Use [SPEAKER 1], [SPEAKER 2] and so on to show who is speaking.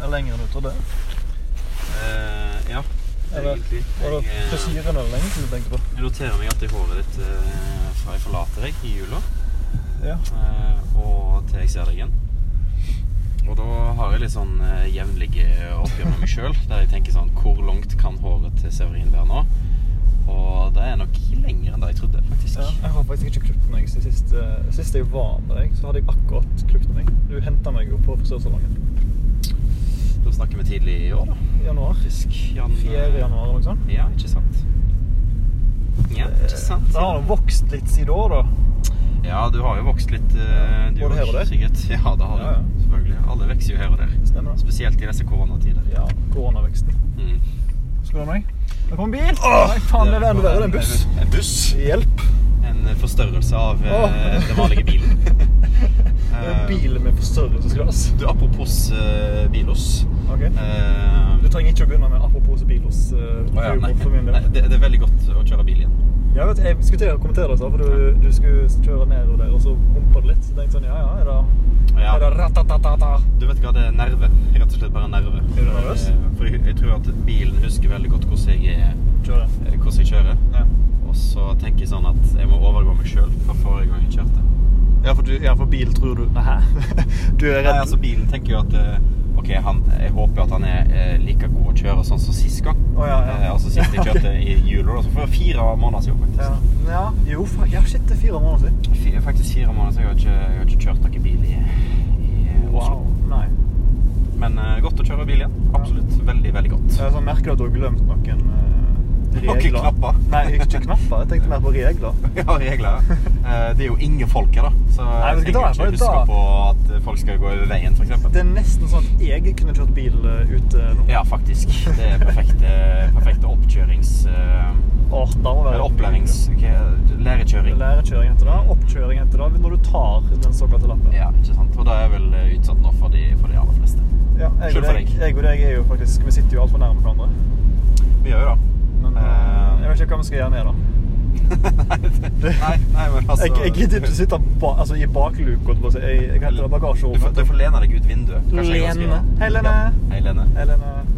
[SPEAKER 1] eller lenger enn du trodde?
[SPEAKER 2] Eh, ja,
[SPEAKER 1] Eller
[SPEAKER 2] egentlig.
[SPEAKER 1] var det
[SPEAKER 2] Jeg, eh,
[SPEAKER 1] frisyren eller lenger som du tenkte på?
[SPEAKER 2] jeg noterer meg at i håret ditt eh, fra jeg forlater deg i jula
[SPEAKER 1] Ja.
[SPEAKER 2] eh, og til jeg ser deg igjen. Og da har jeg litt sånn eh, jevnlige oppgjør med meg sjøl, der jeg tenker sånn Hvor langt kan håret til Severin være nå? Og det er nok lenger enn det jeg trodde, faktisk.
[SPEAKER 1] Ja, jeg har faktisk ikke klippet meg siden sist, eh, sist jeg var med deg. Så hadde jeg akkurat klippet meg. Du henta meg jo på frisørsalongen
[SPEAKER 2] Da snakker vi tidlig i år, da.
[SPEAKER 1] i januar.
[SPEAKER 2] Fisk. Jan,
[SPEAKER 1] 4. januar eller noe sånt.
[SPEAKER 2] Ja, ikke sant? Ja, ikke sant?
[SPEAKER 1] Det har nå vokst litt siden da, da.
[SPEAKER 2] Ja, du har jo vokst litt, eh, du
[SPEAKER 1] Både her og
[SPEAKER 2] også,
[SPEAKER 1] der.
[SPEAKER 2] sikkert. Ja, det har du.
[SPEAKER 1] Ja, ja.
[SPEAKER 2] Selvfølgelig. Alle vokser jo her og der.
[SPEAKER 1] Stemmer.
[SPEAKER 2] Spesielt i disse koronatider.
[SPEAKER 1] Ja, koronaveksten.
[SPEAKER 2] Mm.
[SPEAKER 1] Skal du ha meg? Det kom en bil! Nei, faen, det er verre enn en buss.
[SPEAKER 2] En buss.
[SPEAKER 1] Hjelp!
[SPEAKER 2] En forstørrelse av eh,
[SPEAKER 1] Åh.
[SPEAKER 2] den vanlige bilen.
[SPEAKER 1] Det er bilen med forstørrelsesglass.
[SPEAKER 2] Du, apropos eh, bilos.
[SPEAKER 1] Ok.
[SPEAKER 2] Eh,
[SPEAKER 1] Du trenger ikke å begynne med apropos bilos. Uh,
[SPEAKER 2] å ja, nei.
[SPEAKER 1] for min del.
[SPEAKER 2] Nei, det, det er veldig godt å kjøre bil igjen.
[SPEAKER 1] Jeg, vet, jeg skulle til å kommentere det, sa, for du, du skulle kjøre nedover der, og så humpa det litt. Så jeg tenkte sånn, ja, ja, er det,
[SPEAKER 2] Ja.
[SPEAKER 1] er det ratatatata?
[SPEAKER 2] Du vet hva, det er nerve. Rett og slett bare nerve.
[SPEAKER 1] Er du nervøs?
[SPEAKER 2] Eh, For jeg, jeg tror at bilen husker veldig godt hvordan jeg, er-
[SPEAKER 1] Kjør det.
[SPEAKER 2] eh, hvordan jeg kjører.
[SPEAKER 1] Ja.
[SPEAKER 2] Og så tenker jeg sånn at jeg må overgå meg sjøl fra forrige gang jeg kjørte.
[SPEAKER 1] Ja, for, du, ja, for bil tror du Hæ? Du er
[SPEAKER 2] Nei, altså Bilen tenker jo at eh, OK, han, jeg håper jo at han er eh, like god å kjøre sånn som sist gang.
[SPEAKER 1] Å, ja, ja.
[SPEAKER 2] Eh, Altså sist jeg kjørte i jula, da, så for fire måneder siden. faktisk.
[SPEAKER 1] ja. ja. Jo, fa ja, shit, det er fire måneder siden.
[SPEAKER 2] Fi- Faktisk fire måneder siden jeg har ikke, jeg har ikke kjørt noen bil i, i eh, Oslo.
[SPEAKER 1] Nei.
[SPEAKER 2] Men eh, godt å kjøre bil igjen. Absolutt. Veldig, veldig godt.
[SPEAKER 1] Jeg så merker du at du har glemt noen eh,
[SPEAKER 2] Noen
[SPEAKER 1] regler.
[SPEAKER 2] knapper.
[SPEAKER 1] Nei, ikke knapper. Jeg tenkte mer på regler.
[SPEAKER 2] Ja, regler. Eh, Det er jo ingen folk her, da. Så
[SPEAKER 1] Nei, men skal
[SPEAKER 2] jeg
[SPEAKER 1] da,
[SPEAKER 2] trenger
[SPEAKER 1] bare
[SPEAKER 2] ikke huske
[SPEAKER 1] da.
[SPEAKER 2] på at eh, folk skal gå over veien, f.eks.
[SPEAKER 1] Det er nesten sånn at jeg kunne kjørt bil eh, ute nå.
[SPEAKER 2] Ja, faktisk. Det er perfekte, perfekte oppkjørings... eh,
[SPEAKER 1] Åh, da må
[SPEAKER 2] Eller
[SPEAKER 1] være
[SPEAKER 2] opplærings... hva- Lærekjøring.
[SPEAKER 1] Lærekjøring heter det. Oppkjøring heter det når du tar den såkalte lappen.
[SPEAKER 2] Ja, ikke sant. Og da er jeg vel eh, utsatt nå for de, for de aller fleste.
[SPEAKER 1] Ja, jeg,
[SPEAKER 2] Selv
[SPEAKER 1] og
[SPEAKER 2] for
[SPEAKER 1] deg,
[SPEAKER 2] deg.
[SPEAKER 1] jeg og deg er jo faktisk Vi sitter jo altfor nærme hverandre.
[SPEAKER 2] Vi gjør jo det.
[SPEAKER 1] Men
[SPEAKER 2] Eh,
[SPEAKER 1] jeg vet ikke hva vi skal gjøre med det.
[SPEAKER 2] nei, det- nei, nei, men altså
[SPEAKER 1] Jeg, jeg gidder ikke sitte ba, altså, i bakluka. holdt jeg på å si. Jeg, jeg kan hente
[SPEAKER 2] Du får, du
[SPEAKER 1] bagasjerommet.
[SPEAKER 2] får lene deg ut vinduet. Kanskje jeg også skal gjøre det.
[SPEAKER 1] Lene. Hei, Lene.
[SPEAKER 2] Ja. Hei, Lene.
[SPEAKER 1] Eller en